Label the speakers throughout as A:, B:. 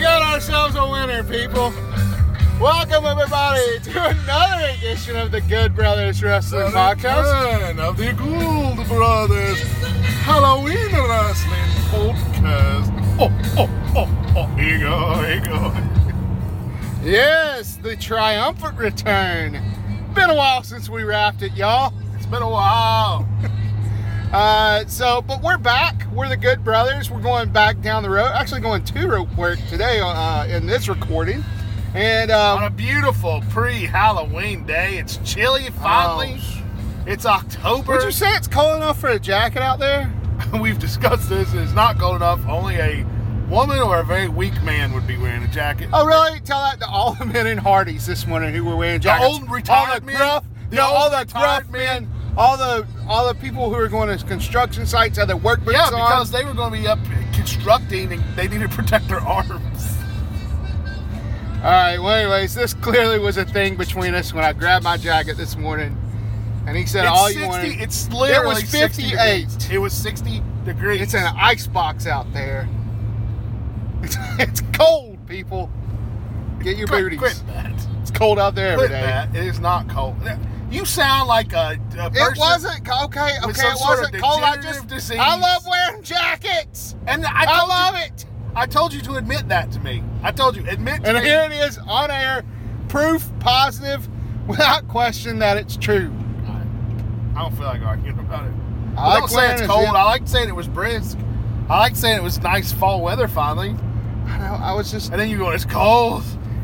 A: yourselves a winner, people. Welcome, everybody, to another edition of the Good Brothers Wrestling Podcast.
B: Fan of the Gould Brothers Halloween Wrestling Podcast. Oh, oh, oh, oh. Here you go, here you go.
A: Yes, the triumphant return. Been a while since we wrapped it, y'all. It's been a while. Uh, so, but we're back. We're the Good Brothers. We're going back down the road. Actually, going to rope work today uh, in this recording. And
B: On
A: uh,
B: a beautiful pre-Halloween day, it's chilly finally.
A: Oh.
B: It's October.
A: would you say it's cold enough for a jacket out there?
B: We've discussed this. It's not cold enough. Only a woman or a very weak man would be wearing a jacket.
A: Oh, really? Tell that to all the men in Hardee's this morning who were wearing
B: The
A: jackets.
B: old retired
A: all the
B: men?
A: gruff,
B: The
A: no,
B: old
A: all the
B: retired
A: gruff
B: men?
A: men, all the all the people who are going to construction sites had their work boots
B: Yeah,
A: on.
B: because they were going to be up constructing and they needed to protect their arms.
A: all right. Well, anyways, this clearly was a thing between us when I grabbed my jacket this morning, and he said,
B: It's
A: "All
B: 60,
A: you wanted."
B: It's literally
A: was
B: 60
A: 58.
B: degrees. It was 60 degrees.
A: It's an ice box out there. It's, it's cold, people. Get your
B: quit,
A: booties.
B: quit that.
A: It's cold out there every
B: Quit
A: day.
B: that. It is not cold. You sound like a, a person.
A: It wasn't co- okay.
B: with
A: Okay,
B: some
A: it
B: sort of
A: wasn't cold. I
B: degenerative
A: just
B: disease.
A: I love wearing jackets.
B: And I,
A: I
B: told
A: love
B: you,
A: it.
B: I told you to admit that to me. I told you admit to
A: And
B: me.
A: here it is on air, proof positive, without question that it's true.
B: I don't feel like arguing about it.
A: I
B: I,
A: like
B: don't say
A: wearing
B: it's
A: a
B: cold.
A: zip.
B: I like saying it was brisk. I like saying it was nice fall weather finally.
A: I know. I was just.
B: And then you go, it's cold.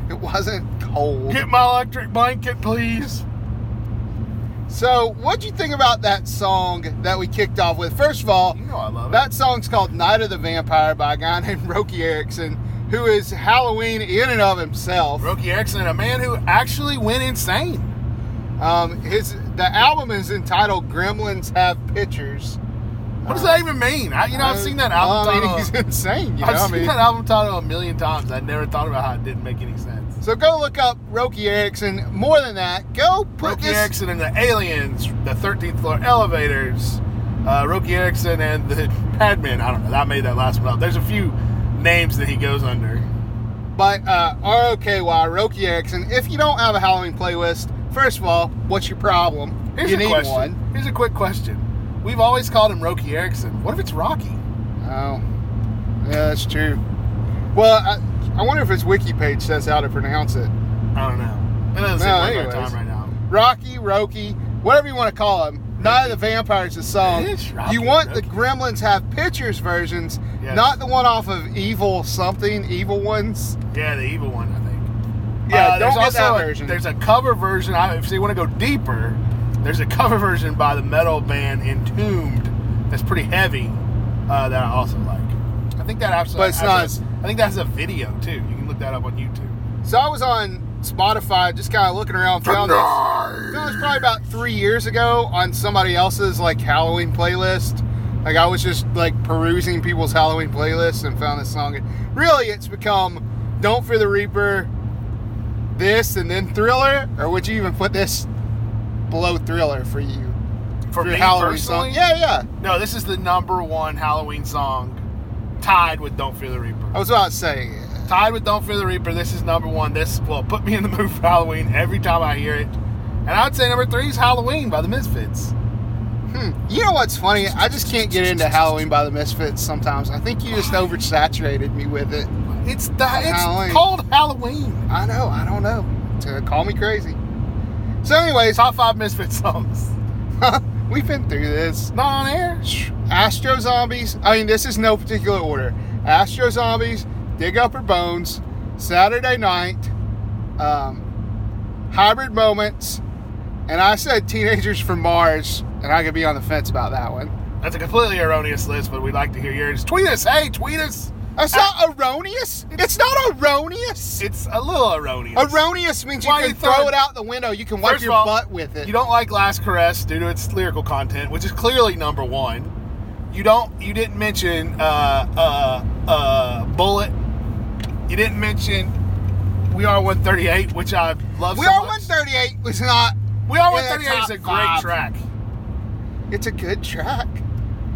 A: It wasn't cold.
B: Get my electric blanket, please.
A: So, what'd you think about that song that we kicked off with? First of all,
B: You know I love
A: that song's called "Night of the Vampire" by a guy named Roki Erickson, who is Halloween in and of himself.
B: it. Roki Erickson, a man who actually went insane.
A: Um, his the album is entitled "Gremlins Have Pictures."
B: What does that even mean? I, you know, I've seen that album
A: I mean,
B: title.
A: he's insane. You know,
B: I've
A: I
B: seen
A: mean,
B: that album title a million times. I never thought about how it didn't make any sense.
A: So go look up Roki Erickson. More than that, go put
B: Roki
A: this.
B: Erickson and the Aliens, the 13th floor elevators, uh, Roki Erickson and the Padmen. I don't know. I made that last one up. There's a few names that he goes under.
A: But uh, R O K Y Roki Erickson. If you don't have a Halloween playlist, first of all, what's your problem?
B: Here's
A: you
B: a
A: need
B: question.
A: one.
B: Here's a quick question. We've always called him Roki Erickson. What if it's Rocky?
A: Oh, yeah, that's true. Well, I, I wonder if his wiki page says how to pronounce it.
B: I don't know. It
A: No,
B: doesn't seem worth our
A: anyways.
B: time right now.
A: Rocky, Roki, whatever you want to call him. Night of the Vampires is a song.
B: It is Rocky,
A: you want the
B: Roki.
A: Gremlins have pictures versions,
B: Yes.
A: not the one off of Evil something, Evil ones.
B: Yeah, the evil one, I think.
A: Yeah,
B: Uh,
A: don't
B: there's
A: get that
B: also a-
A: version.
B: There's a cover version. I, if you want to go deeper, there's a cover version by the metal band Entombed that's pretty heavy uh, that I also like. I think that absolutely.
A: But it's not as-
B: I think that's a video too. You can look that up on YouTube.
A: So I was on Spotify, just kind of looking around, found this. found this probably about three years ago on somebody else's like Halloween playlist. Like I was just like perusing people's Halloween playlists and found this song. And really, it's become "Don't Fear the Reaper," this, and then Thriller. Or would you even put this below Thriller for you?
B: For
A: your
B: me
A: Halloween
B: personally,
A: song? Yeah, yeah.
B: No, this is the number one Halloween song, tied with "Don't Fear the Reaper."
A: I was about to say.
B: Tied with "Don't Fear the Reaper." This is number one. This well put me in the mood for Halloween every time I hear it. And I would say number three is "Halloween" by the Misfits.
A: Hmm. You know what's funny? I just can't get into Halloween by the Misfits sometimes. I think you just oversaturated me with it.
B: It's the, it's
A: Halloween.
B: called Halloween.
A: I know. I don't know. To call me crazy. So, anyways,
B: Top five Misfit songs.
A: we've been through this.
B: Not on air.
A: Astro Zombies. I mean, this is no particular order. Astro Zombies, Dig Up Her Bones, Saturday Night, um, Hybrid Moments, and I said Teenagers from Mars, and I could be on the fence about that one.
B: That's a completely erroneous list, but we'd like to hear yours. Tweet us. Hey, tweet us.
A: That's
B: Ah.
A: not erroneous. It's not erroneous.
B: It's a little erroneous.
A: Erroneous means you
B: Why
A: can
B: you
A: throw
B: throwing-
A: it out the window. You can wipe
B: First of
A: your
B: all,
A: butt with it.
B: You don't like Last Caress due to its lyrical content, which is clearly number one. You don't. You didn't mention uh, uh, uh, Bullet. You didn't mention We Are 138, which I love.
A: we
B: so
A: are
B: much.
A: 138 was not.
B: We Are
A: in the
B: 138 is
A: top
B: a great
A: five.
B: track.
A: It's a good track.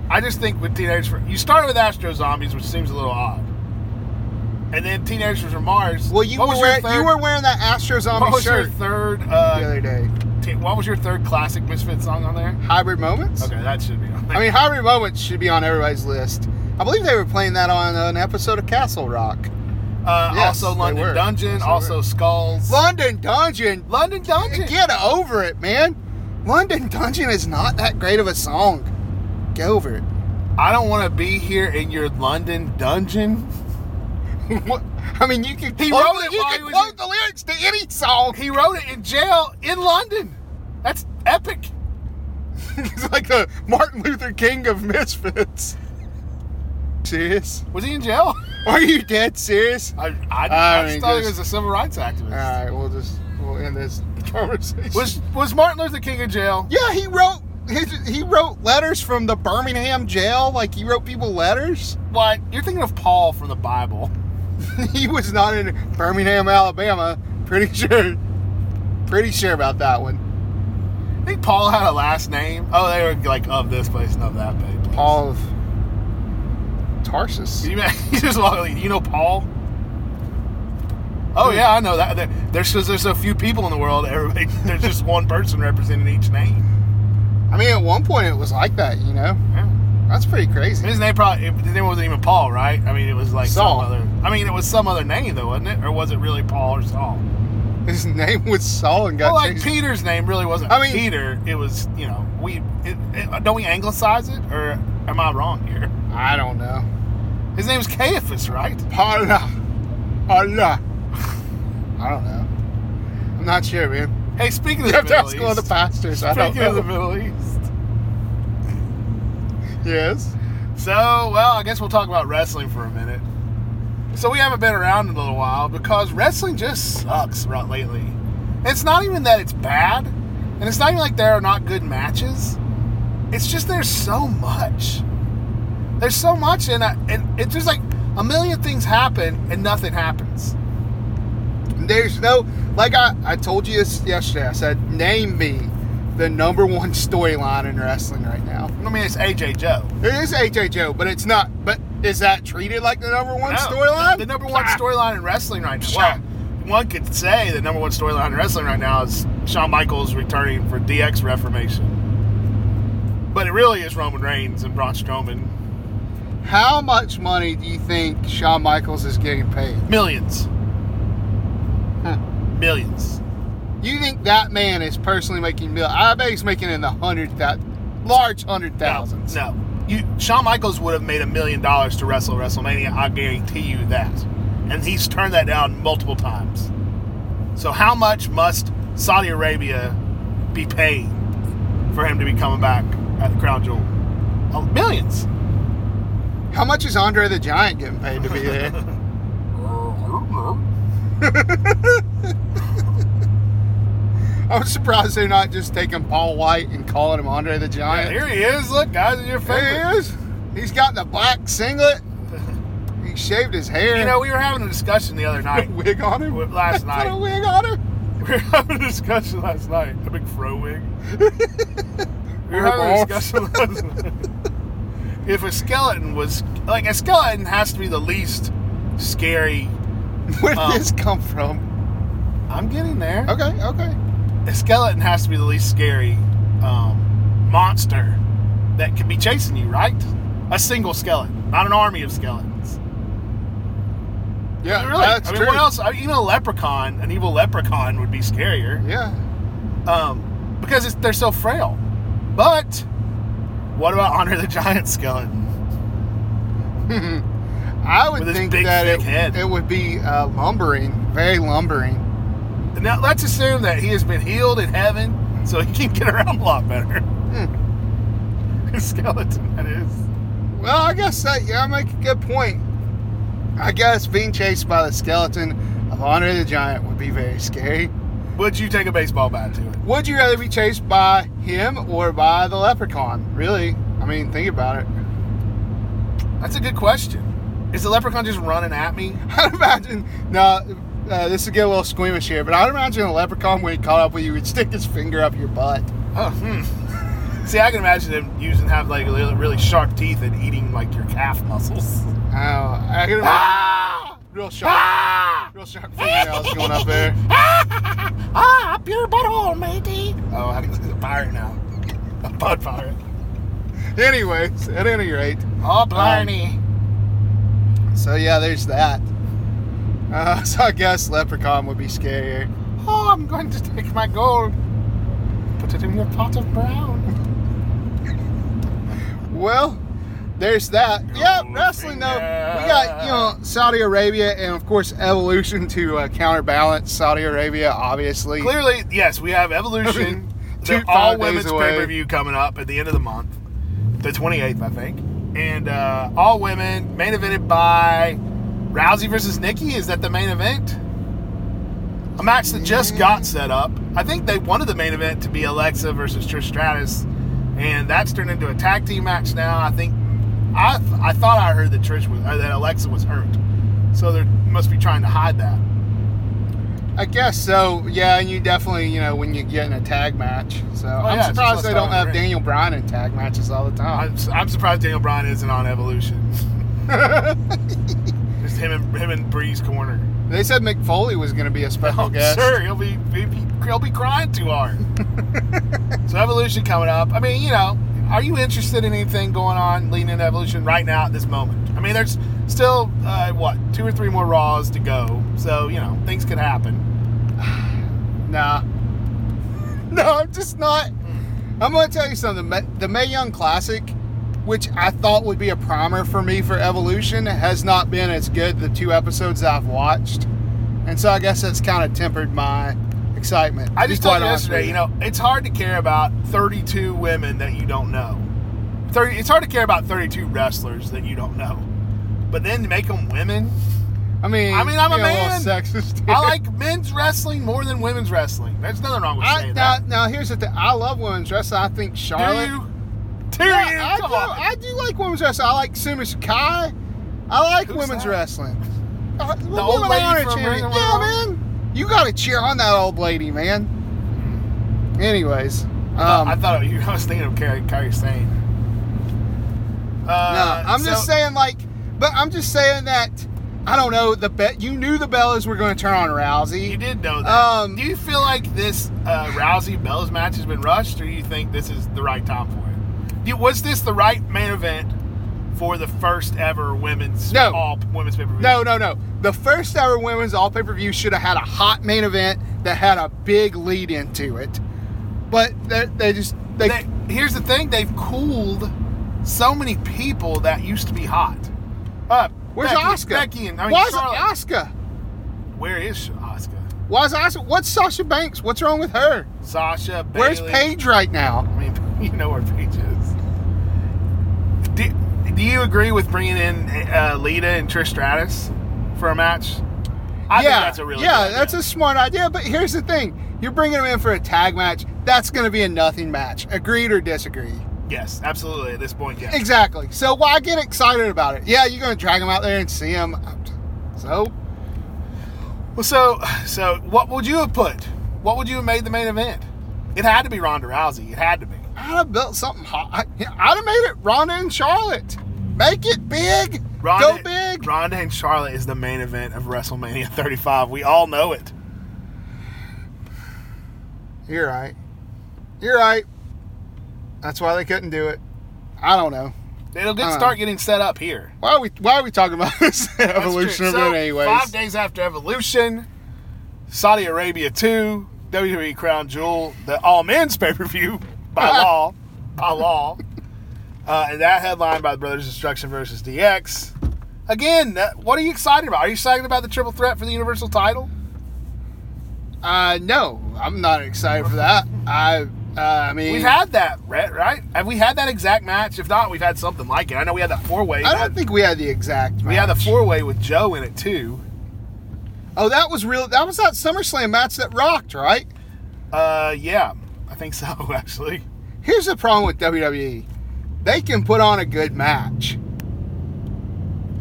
B: I just think with Teenage Fr- you started with Astro Zombies, which seems a little odd. and then Teenagers from Mars.
A: Well, you
B: What
A: were
B: was your
A: wearing,
B: third-
A: you were wearing that Astro Zombie
B: What was
A: shirt
B: your third?
A: the
B: Uh,
A: other day.
B: t- what was your third classic Misfit song on there?
A: Hybrid moments.
B: Okay, that should be on. There.
A: I mean, hybrid moments should be on everybody's list. I believe they were playing that on an episode of Castle Rock.
B: uh,
A: yes,
B: also
A: they
B: London
A: were.
B: Dungeon,
A: Yes, they
B: also
A: were.
B: Skulls.
A: London Dungeon.
B: London Dungeon.
A: Get over it, man. London Dungeon is not that great of a song. Get over it.
B: I don't want to be here in your London Dungeon.
A: What- I mean, you can
B: He
A: quote,
B: wrote it
A: you
B: while
A: can
B: he was
A: quote
B: in-
A: the lyrics to any song.
B: He wrote it in jail in London. That's epic.
A: He's like the Martin Luther King of misfits. Serious?
B: Was he in jail?
A: Are you dead serious?
B: I, I,
A: I
B: I
A: mean,
B: just thought he
A: just-
B: was a civil rights activist.
A: All right, we'll just we'll end this conversation.
B: was was Martin Luther King in jail?
A: yeah, he wrote his, he wrote letters from the Birmingham jail. Like he wrote people letters.
B: What? You're thinking of Paul from the Bible.
A: he was not in Birmingham, Alabama. Pretty sure. Pretty sure about that one.
B: I think Paul had a last name. Oh, they were like of this place and of that place.
A: Paul of Tarsus.
B: Can You, imagine- you just walk. Like, you know Paul. Oh yeah, I know that. There- There's just there's a few people in the world. Everybody, there's just one person representing each name.
A: I mean, at one point it was like that. You know,
B: Yeah.
A: that's pretty crazy.
B: And His name probably it, his name wasn't even Paul, right? I mean, it was like
A: Saul.
B: some other. I mean, it was some other name though, wasn't it? Or was it really Paul or Saul?
A: His name was Saul and got
B: Well, like
A: changed.
B: Peter's name really wasn't.
A: I mean-
B: Peter. It was you know we it, it, don't we anglicize it or am I wrong here?
A: I don't know.
B: His name's Caiaphas, right?
A: Paula. Allah. I don't know. I'm not sure, man.
B: Hey, speaking of
A: You
B: the
A: have to
B: Middle
A: ask
B: East,
A: one of the pastors. I don't
B: speaking of the
A: know.
B: Middle East.
A: Yes.
B: So, well, I guess we'll talk about wrestling for a minute. So we haven't been around in a little while because wrestling just sucks right lately. It's not even that it's bad, and it's not even like there are not good matches. It's just there's so much. There's so much, and I, and it's just like a million things happen and nothing happens.
A: There's no like I, I told you this yesterday. I said name me the number one storyline in wrestling right now.
B: I mean, it's AJ Joe.
A: It is AJ Joe, but it's not. But is that treated like the number one storyline?
B: The number one
A: Ah.
B: storyline in wrestling right now.
A: Pshaw.
B: Well, one could say the number one storyline in wrestling right now is Shawn Michaels returning for DX Reformation. But it really is Roman Reigns and Braun Strowman.
A: How much money do you think Shawn Michaels is getting paid?
B: Millions.
A: Huh.
B: Millions.
A: You think that man is personally making mil? I bet he's making in the hundred thousand, large hundred thousands.
B: No. You, Shawn Michaels would have made a million dollars to wrestle WrestleMania. I guarantee you that. And he's turned that down multiple times. So how much must Saudi Arabia be paying for him to be coming back at the Crown Jewel? Oh, millions.
A: How much is Andre the Giant getting paid to be there? Uh, I'm surprised they're not just taking Paul White and calling him Andre the
B: Yeah,
A: Giant.
B: here he is. Look, guys, in your
A: there he
B: favorite.
A: is. He's got the black singlet. He shaved his hair.
B: You know, we were having a discussion the other night.
A: put a wig on him
B: With last
A: Put
B: night.
A: a wig on him.
B: We were having a discussion last night. A big fro wig. we were
A: Rip
B: having a
A: off.
B: discussion last night. If a skeleton was like a skeleton has to be the least scary.
A: Where did
B: Um,
A: this come from?
B: I'm getting there.
A: Okay, okay.
B: A skeleton has to be the least scary um, monster that could be chasing you, right? A single skeleton, not an army of skeletons.
A: Yeah,
B: really?
A: that's
B: I mean,
A: true.
B: what else? I mean, even a leprechaun, an evil leprechaun, would be scarier.
A: Yeah.
B: um, because it's, they're so frail. But what about Honor the Giant skeleton?
A: I would
B: With his
A: think
B: big,
A: that
B: thick
A: it,
B: head.
A: it would be uh, lumbering, very lumbering.
B: Now let's assume that he has been healed in heaven, so he can get around a lot better.
A: Hmm.
B: His skeleton, that is.
A: Well, I guess that yeah, I make a good point. I guess being chased by the skeleton of Andre the Giant would be very scary.
B: Would you take a baseball bat to it?
A: Would you rather be chased by him or by the leprechaun? Really? I mean, think about it.
B: That's a good question. Is the leprechaun just running at me?
A: I'd imagine. Now, uh, this would get a little squeamish here, but I'd imagine a leprechaun when he caught up with you would stick his finger up your butt.
B: Oh, hmm. See, I can imagine him using have like really, really sharp teeth and eating like your calf muscles.
A: Oh, I can imagine.
B: Ah!
A: real sharp, real sharp fingernails going up there.
B: Ah, pure butthole, matey. Oh, I can see the fire now. A butt fire.
A: Anyways, at any rate,
B: Oh,
A: blimey. so yeah, there's that. Uh, so I guess leprechaun would be scarier. Um,
B: oh, I'm going to take my gold, put it in your pot of brown.
A: Well, there's that. Yep, wrestling though. We got you know Saudi Arabia and of course Evolution to uh, counterbalance Saudi Arabia, obviously.
B: Clearly, yes, we have Evolution,
A: Two-
B: the all
A: five days
B: women's
A: away.
B: pay per view coming up at the end of the month, the 28th, I think. And uh, all women, main evented by Rousey versus Nikki. Is that the main event? A match that just got set up. I think they wanted the main event to be Alexa versus Trish Stratus, and that's turned into a tag team match now. I think I I thought I heard that Trish was or that Alexa was hurt, so they must be trying to hide that.
A: I guess so. Yeah, and you definitely you know when you get in a tag match. So I'm
B: Oh, yeah, it's
A: surprised
B: just
A: they don't
B: Saudi
A: have
B: Arabia.
A: Daniel Bryan in tag matches all the time.
B: I'm, I'm surprised Daniel Bryan isn't on Evolution. Just him and him and Breeze corner.
A: They said McFoley was going to be a special guest.
B: sure, he'll be, he'll be he'll be crying too hard. so Evolution coming up. I mean, you know, are you interested in anything going on leading into Evolution right now at this moment? I mean, there's still uh, what two or three more Raws to go, so you know things could happen.
A: Nah. No, I'm just not.
B: Hmm.
A: I'm going to tell you something. Ma- The May Young Classic, which I thought would be a primer for me for Evolution, has not been as good the two episodes that I've watched. And so I guess that's kind of tempered my excitement.
B: I
A: to be
B: just told
A: quite
B: you
A: honest with
B: yesterday, you know, it's hard to care about 32 women that you don't know. 30, it's hard to care about 32 wrestlers that you don't know. But then to make them women,
A: I mean,
B: I mean, I'm a
A: you know, little
B: man.
A: sexist.
B: I like men's wrestling more than women's wrestling. There's nothing wrong with
A: I,
B: saying
A: now,
B: that.
A: now, here's the thing. I love women's wrestling. I think Charlotte.
B: Do you? Do
A: Yeah,
B: you?
A: I,
B: Come
A: do,
B: on.
A: I do like women's wrestling. I like Sumi Sakai. I like
B: Who's
A: women's
B: that?
A: wrestling. Uh, the
B: old
A: woman
B: lady
A: honor
B: from
A: champion.
B: Ring of
A: Yeah,
B: Honor?
A: man. You got to cheer on that old lady, man. Anyways, um,
B: I thought you. I was thinking of Carrie, Carrie Sane. Uh,
A: no, I'm just
B: so-
A: saying, like, but I'm just saying that I don't know the bet. You knew the Bellas were going to turn on
B: You
A: Rousey.
B: did know that.
A: Um,
B: do you feel like this uh, Rousey Bellas match has been rushed, or do you think this is the right time for it? Do you- was this the right main event for the first ever women's
A: No.
B: all women's pay per view?
A: No, no, no. The first ever women's all pay per view should have had a hot main event that had a big lead into it, but they, they just they,
B: They, here's the thing: they've cooled so many people that used to be hot. Uh,
A: Where's
B: Becky,
A: Oscar?
B: Becky and I mean
A: Where's
B: Charlotte.
A: Oscar?
B: Where is Oscar?
A: Why's Oscar? What's Sasha Banks? What's wrong with her?
B: Sasha. Bailey.
A: Where's Paige right now?
B: I mean, you know where Paige is. Do, do you agree with bringing in uh, Lita and Trish Stratus for a match? I
A: yeah,
B: think that's a really
A: yeah,
B: good
A: that's
B: idea.
A: a smart idea. But here's the thing: you're bringing them in for a tag match. That's going to be a nothing match. Agreed or disagree?
B: yes, absolutely. At this point, yes.
A: Exactly. So why get excited about it? Yeah, you're going to drag them out there and see them. So
B: Well, so so what would you have put? What would you have made the main event? It had to be Ronda Rousey. It had to be.
A: I'd have built something hot. I- I'd have made it Ronda and Charlotte. Make it big. Go
B: Ronda,
A: big.
B: Ronda and Charlotte is the main event of WrestleMania 35. We all know it.
A: You're right. You're right. That's why they couldn't do it. I don't know.
B: It'll get,
A: Uh.
B: start getting set up here.
A: Why are we Why are we talking about this
B: That's
A: evolution
B: true.
A: of
B: So,
A: it anyways?
B: Five days after Evolution, Saudi Arabia 2, WWE E Crown Jewel, the all men's pay per view by law. By law. Uh, and that headline by the Brothers Destruction versus DX. Again, that, what are you excited about? Are you excited about the triple threat for the Universal title?
A: Uh, no, I'm not excited for that. I uh, I mean,
B: We've had that, right? right? Have we had that exact match? If not, we've had something like it. I know we had that four way.
A: I don't think we had the exact.
B: we had the
A: match.
B: four way with Joe in it too.
A: Oh, that was real. That was that SummerSlam match that rocked, right?
B: Uh, yeah, I think so actually.
A: Here's the problem with WWE: they can put on a good match,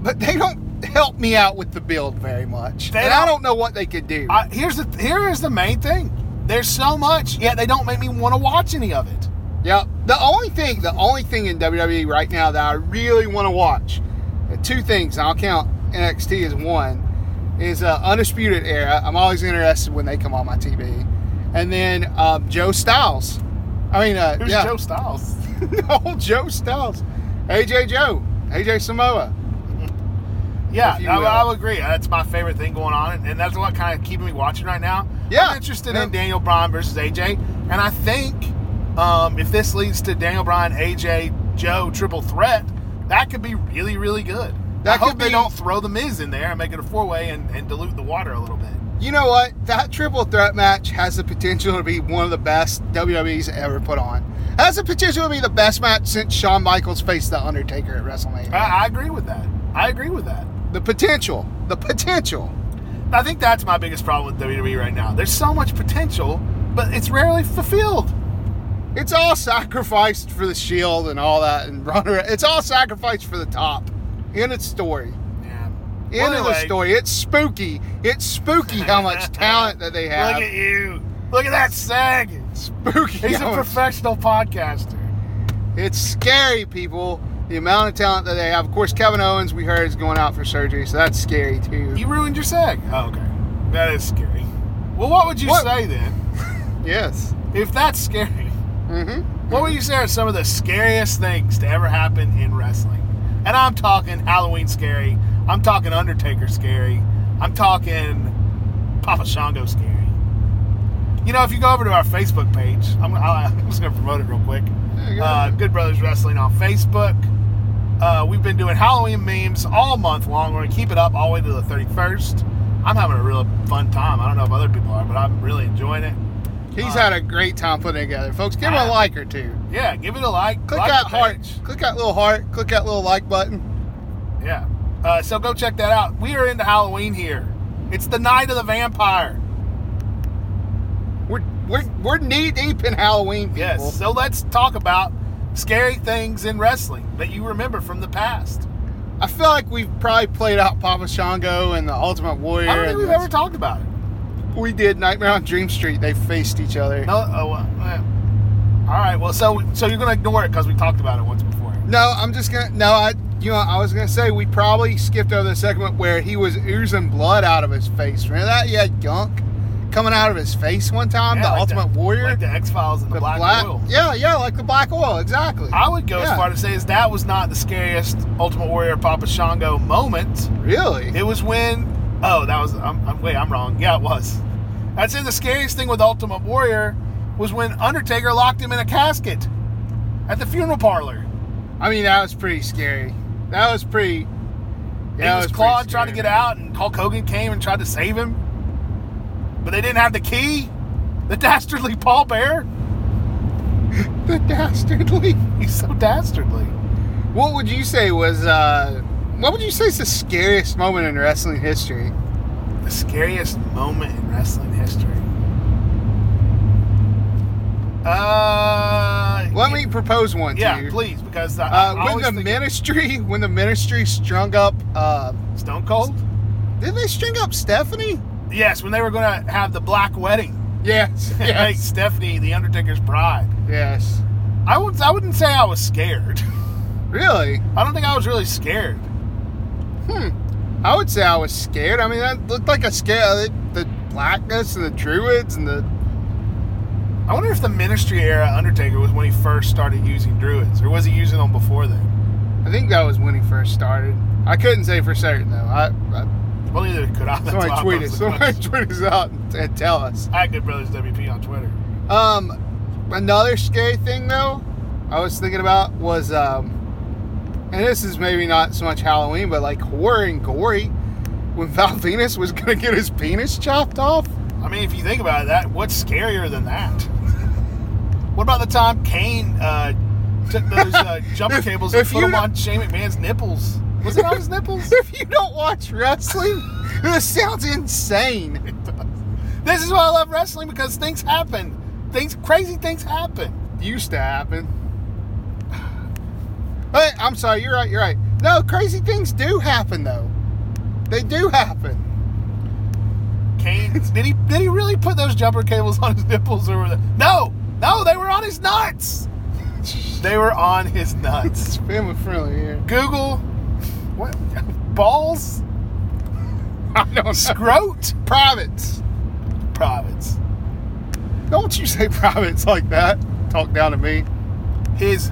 A: but they don't help me out with the build very much.
B: They
A: and I
B: don't-
A: don't know what they could do.
B: I, here's the here is the main thing. There's so much, yet they don't make me want to watch any of it.
A: Yeah, the only thing, the only thing in E WWE right now that I really want to watch, uh, two things, and I'll count NXT as one, is uh, Undisputed Era. I'm always interested when they come on my TV. And then um, Joe Styles. I mean, uh,
B: Who's
A: yeah.
B: Joe Styles?
A: no, Joe Styles. AJ Joe. AJ Samoa.
B: Yeah,
A: If you
B: I,
A: will.
B: I'll agree. That's my favorite thing going on, and- and that's what kind of keeping me watching right now.
A: Yeah.
B: I'm interested
A: Yeah.
B: in Daniel Bryan versus AJ, and I think um, if this leads to Daniel Bryan, AJ, Joe triple threat, that could be really, really good.
A: That
B: I hope
A: could
B: they
A: be-
B: don't throw the Miz in there and make it a four way and, and dilute the water a little bit.
A: You know what? That triple threat match has the potential to be one of the best WWE's ever put on. Has the potential to be the best match since Shawn Michaels faced The Undertaker at WrestleMania.
B: I, I agree with that. I agree with that.
A: the potential. The potential.
B: I think that's my biggest problem with WWE right now. There's so much potential, but it's rarely fulfilled.
A: It's all sacrificed for the Shield and all that, and runner. It's all sacrificed for the top. In its story.
B: Yeah.
A: In the story. It's spooky. It's spooky how much talent that they have.
B: Look at you. Look at that sag.
A: spooky.
B: He's
A: how
B: a
A: much-
B: professional podcaster.
A: It's scary, people. The amount of talent that they have. Of course, Kevin Owens, we heard, is going out for surgery, so that's scary too.
B: You ruined your sag. Oh, okay. That is scary. Well, what would you
A: What-
B: say then?
A: yes.
B: If that's scary,
A: Mm-hmm.
B: what would you say are some of the scariest things to ever happen in wrestling? And I'm talking Halloween scary. I'm talking Undertaker scary. I'm talking Papa Shango scary. You know, if you go over to our Facebook page, I'm, I- I'm just going to promote it real quick. uh, Good Brothers Wrestling on Facebook. Uh, we've been doing Halloween memes all month long. We're gonna keep it up all the way to the 31st. I'm having a real fun time. I don't know if other people are, but I'm really enjoying it.
A: He's
B: uh,
A: had a great time putting it together, folks. Give him a
B: Ah.
A: like or two.
B: Yeah, give it a like.
A: Click
B: like
A: that
B: the
A: heart.
B: page.
A: Click that little heart. Click that little like button.
B: Yeah. Uh, so go check that out. We are into Halloween here. It's the night of the vampire.
A: We're we're, we're knee deep in Halloween, people.
B: Yes. So let's talk about scary things in wrestling that you remember from the past.
A: I feel like we've probably played out Papa Shango and the Ultimate Warrior.
B: I don't think
A: and
B: we've
A: that's-
B: ever talked about it.
A: we did Nightmare on Dream Street. They faced each other.
B: No. Oh, well, yeah. All right. Well, so so you're gonna ignore it because we talked about it once before.
A: No, I'm just gonna. No, I. You know, I was gonna say we probably skipped over the segment where he was oozing blood out of his face. Remember that? He had gunk coming out of his face one time.
B: Yeah,
A: the
B: like
A: Ultimate Warrior,
B: like the X Files and the,
A: The
B: Black, Oil.
A: Yeah, yeah, like the black oil, exactly.
B: I would go
A: Yeah.
B: as far to say is that was not the scariest Ultimate Warrior Papa Shango moment.
A: really?
B: It was when oh that was I'm, I'm wait I'm wrong yeah it was. I'd say the scariest thing with Ultimate Warrior was when Undertaker locked him in a casket at the funeral parlor.
A: I mean, that was pretty scary. That was pretty.
B: Yeah,
A: that
B: it was
A: pretty
B: Claude trying
A: scary,
B: to get
A: man.
B: out, and Hulk Hogan came and tried to save him, but they didn't have the key. The dastardly Paul Bear.
A: The dastardly.
B: He's so dastardly.
A: What would you say was? uh What would you say is the scariest moment in wrestling history?
B: The scariest moment in wrestling history. Uh,
A: Let me propose one to
B: Yeah,
A: you.
B: please, because I, I
A: Uh, when
B: always
A: the
B: think
A: ministry, when the ministry strung up, uh,
B: Stone Cold.
A: did they string up Stephanie?
B: Yes, when they were going to have the black wedding,
A: Yes,
B: like
A: yes,
B: Stephanie, the Undertaker's bride.
A: yes.
B: I would, I wouldn't say I was scared.
A: Really?
B: I don't think I was really scared.
A: Hmm. I would say I was scared. I mean, that looked like a scare. uh, The, the blackness and the druids and the
B: I wonder if the Ministry era Undertaker was when he first started using druids, or was he using them before then?
A: I think that was when he first started. I couldn't say for certain though. I, I
B: Well, neither could I. That's
A: somebody
B: why I
A: tweet it.
B: posed the
A: Somebody
B: question.
A: tweet us out and, and tell us.
B: I had Good Brothers WP on Twitter.
A: Um, another scary thing though, I was thinking about was, um, and this is maybe not so much Halloween, but like horror and gory, when Val Venus was gonna get his penis chopped off.
B: I mean, if you think about it, that, what's scarier than that? what about the time Kane uh, took those uh, jump
A: If-
B: cables
A: if
B: and put
A: you
B: them
A: don't-
B: on Shane McMahon's nipples? Was it on his nipples?
A: If you don't watch wrestling, this sounds insane.
B: this is why I love wrestling because things happen. Things crazy things happen.
A: Used to happen. But I'm sorry, you're right. You're right. No, crazy things do happen though. They do happen.
B: Kane did he did he really put those jumper cables on his nipples or were they, no no they were on his nuts. They were on his nuts.
A: It's family friendly here.
B: Google what balls
A: I don't know.
B: Scrote?
A: privates.
B: Privates.
A: Don't you say privates like that. Talk down to me.
B: His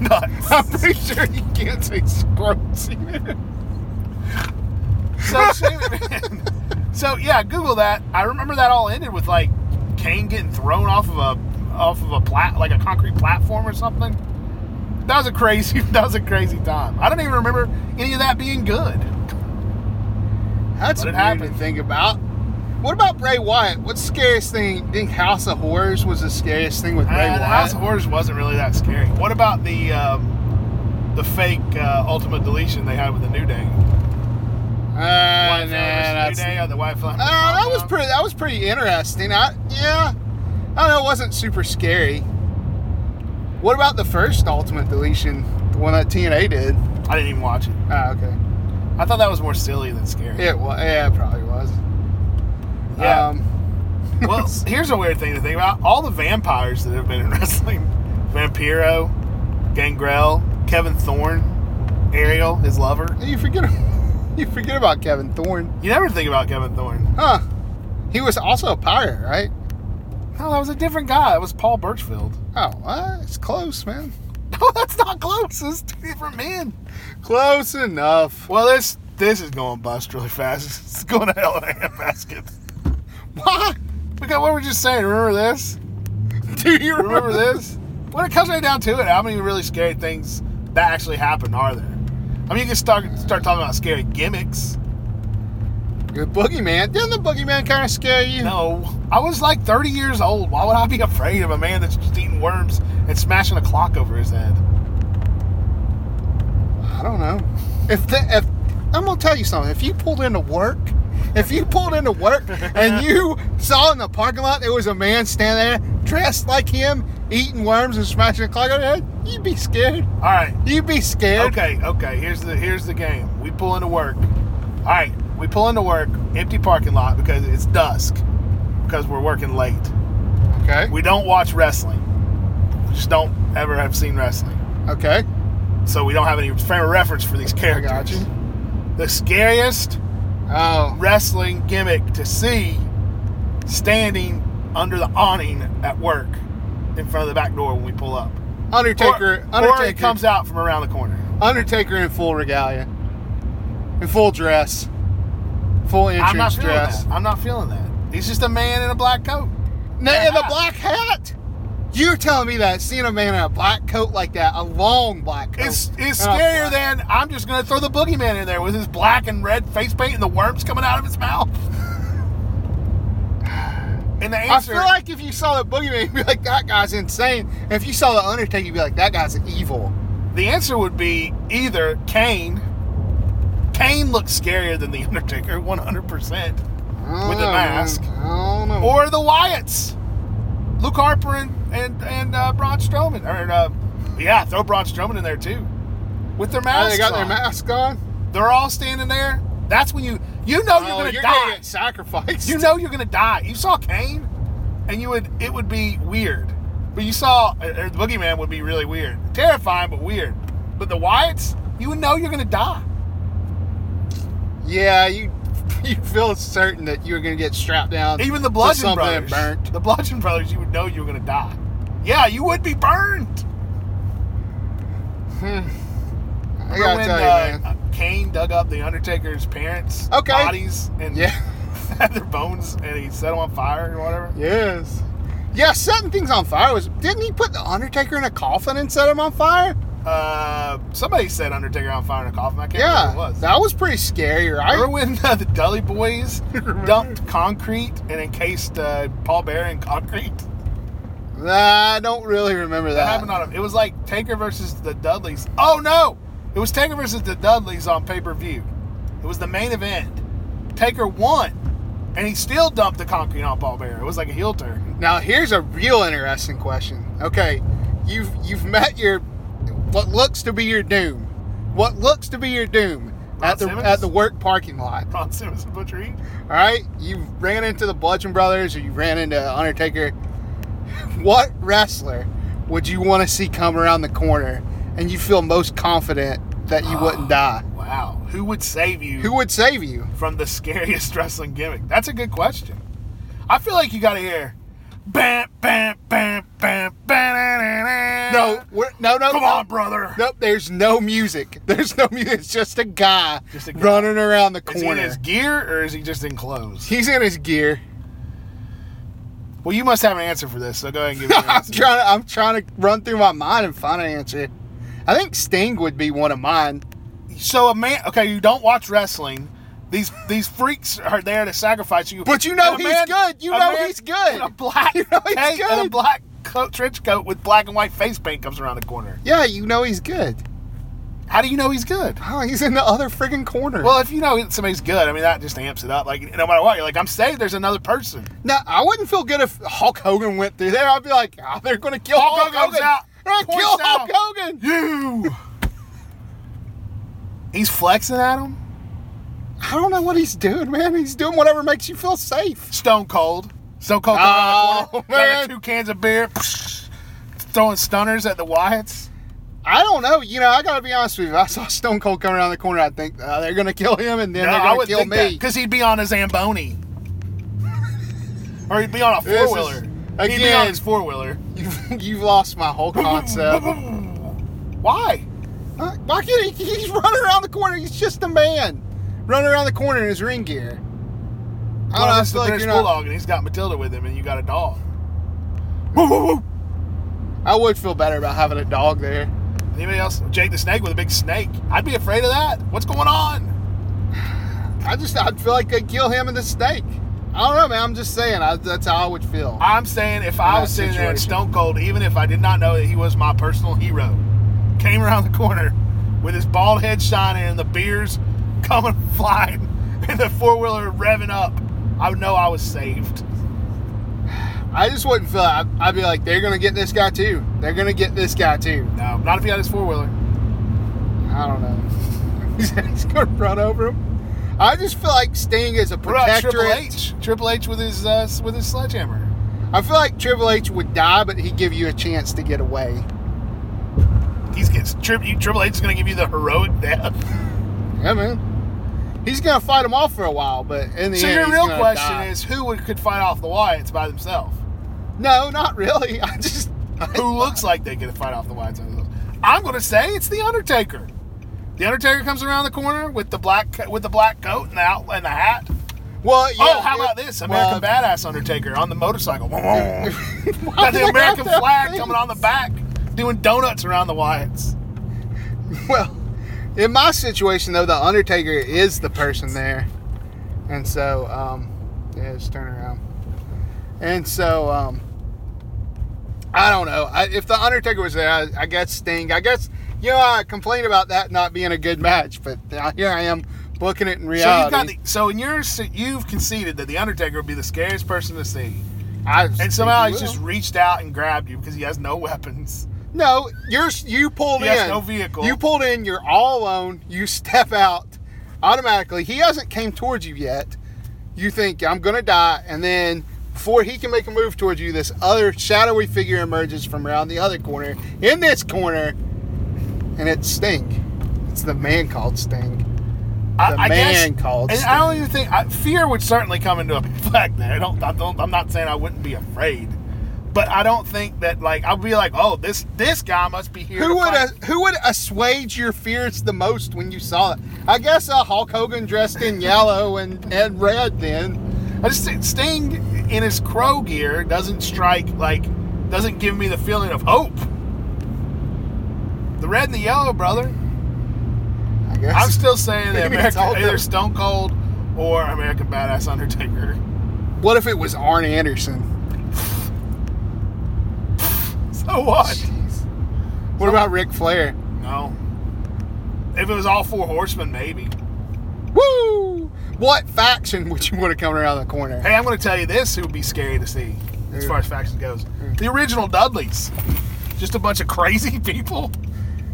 B: nuts.
A: I'm pretty sure you can't say scrotes either.
B: so shoot, man. So yeah, Google that. I remember that all ended with like Kane getting thrown off of a off of a plat like a concrete platform or something. That was a crazy that was a crazy time. I don't even remember any of that being good.
A: That's
B: But
A: what
B: it
A: happened.
B: happened.
A: To think about. What about Bray Wyatt? What's the scariest thing? You think House of Horrors was the scariest thing with
B: Uh,
A: Bray
B: the
A: Wyatt?
B: House of Horrors wasn't really that scary. What about the um, the fake uh, ultimate deletion they had with the New Day?
A: Uh,
B: White
A: nah,
B: Flame versus
A: that's,
B: New Day or the White Flame.
A: Uh, that was
B: Countdown?
A: pretty. That was pretty interesting. I yeah. I don't know. It wasn't super scary. What about the first Ultimate Deletion, the one that TNA did?
B: I didn't even watch it.
A: Ah, okay.
B: I thought that was more silly than scary.
A: It was. Yeah, it probably was.
B: Yeah.
A: Um,
B: well, here's a weird thing to think about. All the vampires that have been in wrestling Vampiro, Gangrel, Kevin Thorne, Ariel, his lover.
A: you forget. You forget about Kevin Thorne,
B: You never think about Kevin Thorne.
A: huh? He was also a pirate, right?
B: No, that was a different guy. That was Paul Birchfield.
A: Oh, uh, it's close, man.
B: No, that's not close. It's two different men.
A: Close enough.
B: Well, this this is going bust really fast. It's going to hell in a handbasket.
A: Why?
B: Look at what we're just saying. Remember this?
A: Do you
B: Remember this? When it comes right down to it, how many really scary things that actually happened are there? I mean, you can start start talking about scary gimmicks.
A: Good boogeyman. Didn't the boogeyman kind of scare you?
B: No, I was like 30 years old. Why would I be afraid of a man that's just eating worms and smashing a clock over his head?
A: I don't know. If the, if I'm gonna tell you something, if you pulled into work, if you pulled into work and you saw in the parking lot there was a man standing there dressed like him, eating worms and smashing a clock on your head, you'd be scared.
B: All right.
A: You'd be scared.
B: Okay, okay. Here's the here's the game. We pull into work. All right, we pull into work, empty parking lot because it's dusk because we're working late.
A: Okay.
B: We don't watch wrestling. We just don't ever have seen wrestling.
A: Okay.
B: So we don't have any frame of reference for these
A: I
B: characters.
A: got you.
B: The scariest
A: Oh.
B: wrestling gimmick to see standing under the awning at work in front of the back door when we pull up.
A: Undertaker.
B: or,
A: Undertaker
B: or it comes out from around the corner.
A: Undertaker in full regalia, in full dress, full
B: I'm not
A: entrance
B: feeling
A: dress.
B: that. I'm not feeling that. He's just a man in a black coat.
A: Now, in the
B: Yeah.
A: black hat. You're telling me that seeing a man in a black coat like that, a long black coat.
B: It's it's
A: and a
B: scarier
A: black-
B: than I'm just gonna throw the boogeyman in there with his black and red face paint and the worms coming out of his mouth. And the
A: I
B: answer
A: feel like if you saw the boogeyman, you'd be like, "That guy's insane." And if you saw the Undertaker, you'd be like, "That guy's evil."
B: the answer would be either Kane. Kane looks scarier than the Undertaker, 100 percent With a mask.
A: I don't know.
B: or the Wyatts, Luke Harper and and, and uh, Braun Strowman, or uh, yeah, throw Braun Strowman in there too, with their
A: Oh,
B: masks.
A: they got their
B: on.
A: mask on.
B: They're all standing there. That's when you you know you're
A: Oh,
B: gonna
A: you're
B: die.
A: gonna get sacrificed.
B: you know you're gonna die. You saw Kane, and you would it would be weird. But you saw or the Boogeyman would be really weird, terrifying but weird. But the Wyatts, you would know you're gonna die.
A: Yeah, you you feel certain that you're gonna get strapped down.
B: Even the
A: to
B: Bludgeon
A: something
B: Brothers,
A: and burnt.
B: the Bludgeon Brothers, you would know you were gonna die. Yeah, you would be burned.
A: I
B: Remember
A: gotta
B: when
A: tell you,
B: uh,
A: man.
B: Kane dug up the Undertaker's parents'
A: Okay.
B: bodies and
A: Yeah.
B: had their bones, and he set them on fire or whatever?
A: Yes. Yeah, setting things on fire was. Didn't he put the Undertaker in a coffin and set him on fire?
B: Uh, somebody said Undertaker on fire in a coffin. I can't
A: Yeah,
B: remember who it was.
A: that was pretty scary,
B: Remember
A: right?
B: when uh, the Dully Boys dumped concrete and encased uh, Paul Bear in concrete?
A: Nah, I don't really remember
B: That
A: that.
B: happened on him. It was like Taker versus the Dudleys. Oh no! It was Taker versus the Dudleys on pay per view. It was the main event. Taker won, and he still dumped the concrete on Paul Bear. It was like a heel turn.
A: now here's a real interesting question. Okay, you've you've met your what looks to be your doom. What looks to be your doom
B: Ron
A: at the
B: Simmons?
A: at the work parking lot.
B: Ron Simmons and Butcher Reed.
A: All right, you ran into the Bludgeon Brothers or you ran into Undertaker. What wrestler would you want to see come around the corner and you feel most confident that you wouldn't die?
B: Wow, Who would save you
A: Who would save you?
B: from the scariest wrestling gimmick? That's a good question. I feel like you got to hear. Bam, bam, bam, bam, bam,
A: No, we're, no, no.
B: Come
A: no.
B: on, brother.
A: Nope, there's no music. There's no music. It's just a guy,
B: Just a guy.
A: running around the
B: Is he in
A: corner.
B: his gear or is he just in clothes?
A: He's in his gear.
B: Well, you must have an answer for this, so go ahead and give me your
A: I'm
B: answer.
A: trying. I'm trying to run through my mind and find an answer. I think Sting would be one of mine.
B: so a man, okay, you don't watch wrestling. These these freaks are there to sacrifice you.
A: But you know
B: And a
A: he's good. You
B: a
A: know he's good.
B: in a black
A: You know he's
B: cape and a
A: good.
B: black coat, trench coat with black and white face paint comes around the corner.
A: Yeah, you know he's good.
B: How do you know he's good?
A: Oh, he's in the other friggin' corner.
B: Well, if you know somebody's good, I mean that just amps it up. Like no matter what, you're like I'm saved. There's another person.
A: now I wouldn't feel good if Hulk Hogan went through there. I'd be like, oh, they're gonna kill Hulk,
B: Hulk
A: Hogan.
B: Hogan's out.
A: They're gonna
B: Points
A: kill Hulk
B: out.
A: Hogan.
B: You. he's flexing at him.
A: I don't know what he's doing, man. He's doing whatever makes you feel safe.
B: Stone Cold. Stone Cold.
A: Oh,
B: coming around the corner,
A: man.
B: grabbing Two cans of beer. Throwing stunners at the Wyatts.
A: I don't know. You know, I gotta be honest with you. If I saw Stone Cold coming around the corner. I think uh, they're gonna kill him, and then they're gonna kill me.
B: because he'd be on a Zamboni, or he'd be on a
A: This is-
B: four wheeler. He'd be on
A: again.
B: his four wheeler.
A: You've, you've lost my whole concept.
B: Why?
A: Uh, Why can't he? He's running around the corner. He's just a man running around the corner in his ring gear. I don't
B: Well,
A: know. I
B: this is
A: feel
B: the
A: like
B: British
A: you're not,
B: bulldog, and he's got Matilda with him, and you got a dog. Woo, woo, woo.
A: I would feel better about having a dog there.
B: Anybody else? Jake the Snake with a big snake. I'd be afraid of that. What's going on?
A: I just I'd feel like they'd kill him and the snake. I don't know, man. I'm just saying. I, that's how I would feel.
B: I'm saying if I
A: that
B: was sitting there in
A: situation.
B: Stone Cold, even if I did not know that he was my personal hero, came around the corner with his bald head shining and the beers coming flying and the four wheeler revving up, I would know I was saved.
A: I just wouldn't feel. I'd, I'd be like, they're gonna get this guy too. They're gonna get this guy too.
B: No, not if he had his four wheeler.
A: I don't know. he's gonna run over him. I just feel like Sting is a
B: What about Triple
A: protectorate.
B: H? Triple H with his uh, with his sledgehammer.
A: I feel like Triple H would die, but he'd give you a chance to get away.
B: He's gets Tri- you- Triple H is going to give you the heroic death.
A: Yeah, man. He's gonna fight him off for a while, but in the
B: So
A: end,
B: your
A: he's
B: real
A: gonna
B: question
A: die.
B: is who would, could fight off the Wyatts by themselves?
A: no, not really. I just
B: who looks like they could fight off the Wyatts. I'm going to say it's the Undertaker. The Undertaker comes around the corner with the black co- with the black coat and the out, and the hat.
A: well, yeah,
B: oh, how
A: it-
B: about this American
A: well,
B: Badass Undertaker on the motorcycle? Got
A: why do
B: the
A: they
B: American
A: have to
B: flag
A: have
B: coming on the
A: things?
B: back, doing donuts around the Wyatts.
A: Well, in my situation though, the Undertaker is the person there, and so um, yeah, just turn around, and so um, I don't know I, if the Undertaker was there. I, I guess Sting. I guess you know I complained about that not being a good match, but now here I am booking it in
B: So
A: reality.
B: you've got the, so in your se- you've conceded that the Undertaker would be the scariest person to see,
A: I
B: and
A: think
B: somehow
A: you
B: he's
A: will.
B: just reached out and grabbed you because he has no weapons.
A: No, you're you pulled
B: He has
A: in.
B: no vehicle.
A: You pulled in. You're all alone. You step out automatically. He hasn't came towards you yet. You think I'm gonna die, and then before he can make a move towards you, this other shadowy figure emerges from around the other corner in this corner, and it's Sting. It's the man called Sting. The man called
B: And I don't even think I, fear would certainly come into effect there. I don't, I don't. I'm not saying I wouldn't be afraid, but I don't think that like I'll be like, oh, this this guy must be here. to
A: Who would
B: fight.
A: who would assuage your fears the most when you saw it? I guess uh, Hulk Hogan dressed in yellow and, and red then.
B: I just think Sting in his crow gear doesn't strike like doesn't give me the feeling of hope. The red and the yellow, brother.
A: I guess.
B: I'm still saying that
A: Maybe it's
B: American,
A: all
B: either
A: good.
B: Stone Cold or American Badass Undertaker.
A: What if it was Arn Anderson?
B: So what?
A: What about Ric Flair?
B: No. If it was all four horsemen, maybe.
A: Woo! What faction would you want to come around the corner?
B: Hey, I'm going to tell you this who would be scary to see as
A: Who?
B: far as factions goes. The original Dudleys. Just a bunch of crazy people.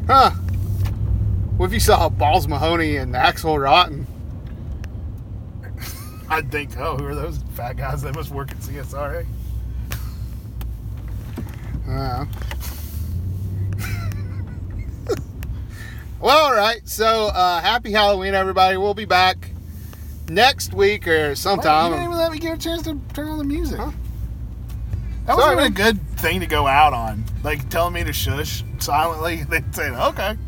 A: Huh? What if you saw Balls Mahoney and Axel Rotten?
B: I'd think, oh, who are those fat guys that must work at CSRA?
A: Uh-huh. Uh, Well, all right. So uh, happy Halloween, everybody. We'll be back next week or
B: Tom.
A: sometime.
B: You didn't even let me get a chance to turn on the music.
A: Huh?
B: That
A: Sorry,
B: wasn't even
A: man.
B: a good thing to go out on. Like telling me to shush silently, then saying, "Okay,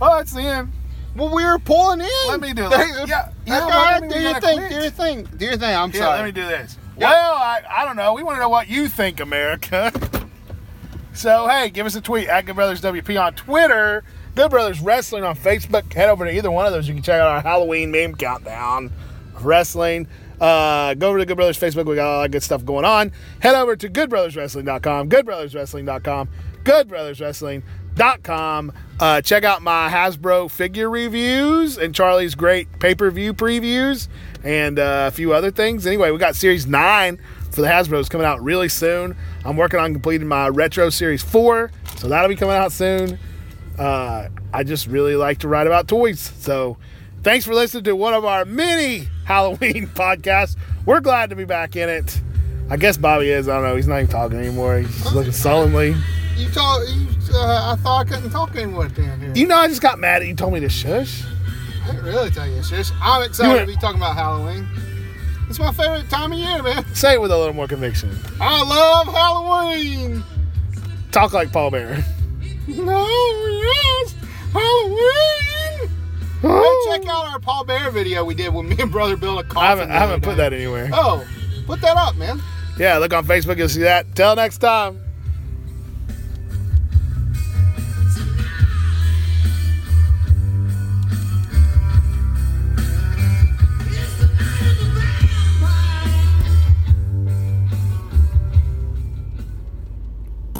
B: well, that's the end."
A: Well, we were pulling in.
B: Let me do it.
A: They-
B: Yeah, yeah,
A: okay,
B: well,
A: all
B: I
A: right,
B: mean,
A: do
B: we
A: your
B: gotta
A: thing.
B: quit.
A: Do your thing. Do your thing. I'm
B: Yeah,
A: sorry.
B: let me do this.
A: Yeah.
B: Well, I, I don't know. We want to know what you think, America. so, hey, give us a tweet at Good Brothers WP on Twitter, Good Brothers Wrestling on Facebook. Head over to either one of those. You can check out our Halloween meme countdown of wrestling. Uh, go over to Good Brothers Facebook. We got a lot of good stuff going on. Head over to goodbrotherswrestling.com, goodbrotherswrestling.com, goodbrotherswrestling.com. Uh, check out my Hasbro figure reviews and Charlie's great pay per view previews and uh, a few other things. Anyway, we got Series 9 for the Hasbro's coming out really soon. I'm working on completing my Retro Series 4, so that'll be coming out soon. Uh, I just really like to write about toys. So thanks for listening to one of our many Halloween podcasts. We're glad to be back in it. I guess Bobby is. I don't know. He's not even talking anymore. He's just looking sullenly.
A: You told. You, uh, I thought I couldn't talk anymore down here.
B: You know, I just got mad at you. Told me to shush.
A: I didn't really tell you. It's just I'm excited
B: You
A: to
B: went-
A: be talking about Halloween. It's my favorite time of year, man.
B: Say it with a little more conviction.
A: I love Halloween.
B: Talk like Paul Bearer.
A: No, yes, Halloween. Go check out our Paul Bear video we did when me and brother built a coffin.
B: I haven't, I
A: the other
B: haven't put
A: day.
B: that anywhere.
A: Oh, put that up, man.
B: Yeah, look on Facebook. You'll see that. Till next time.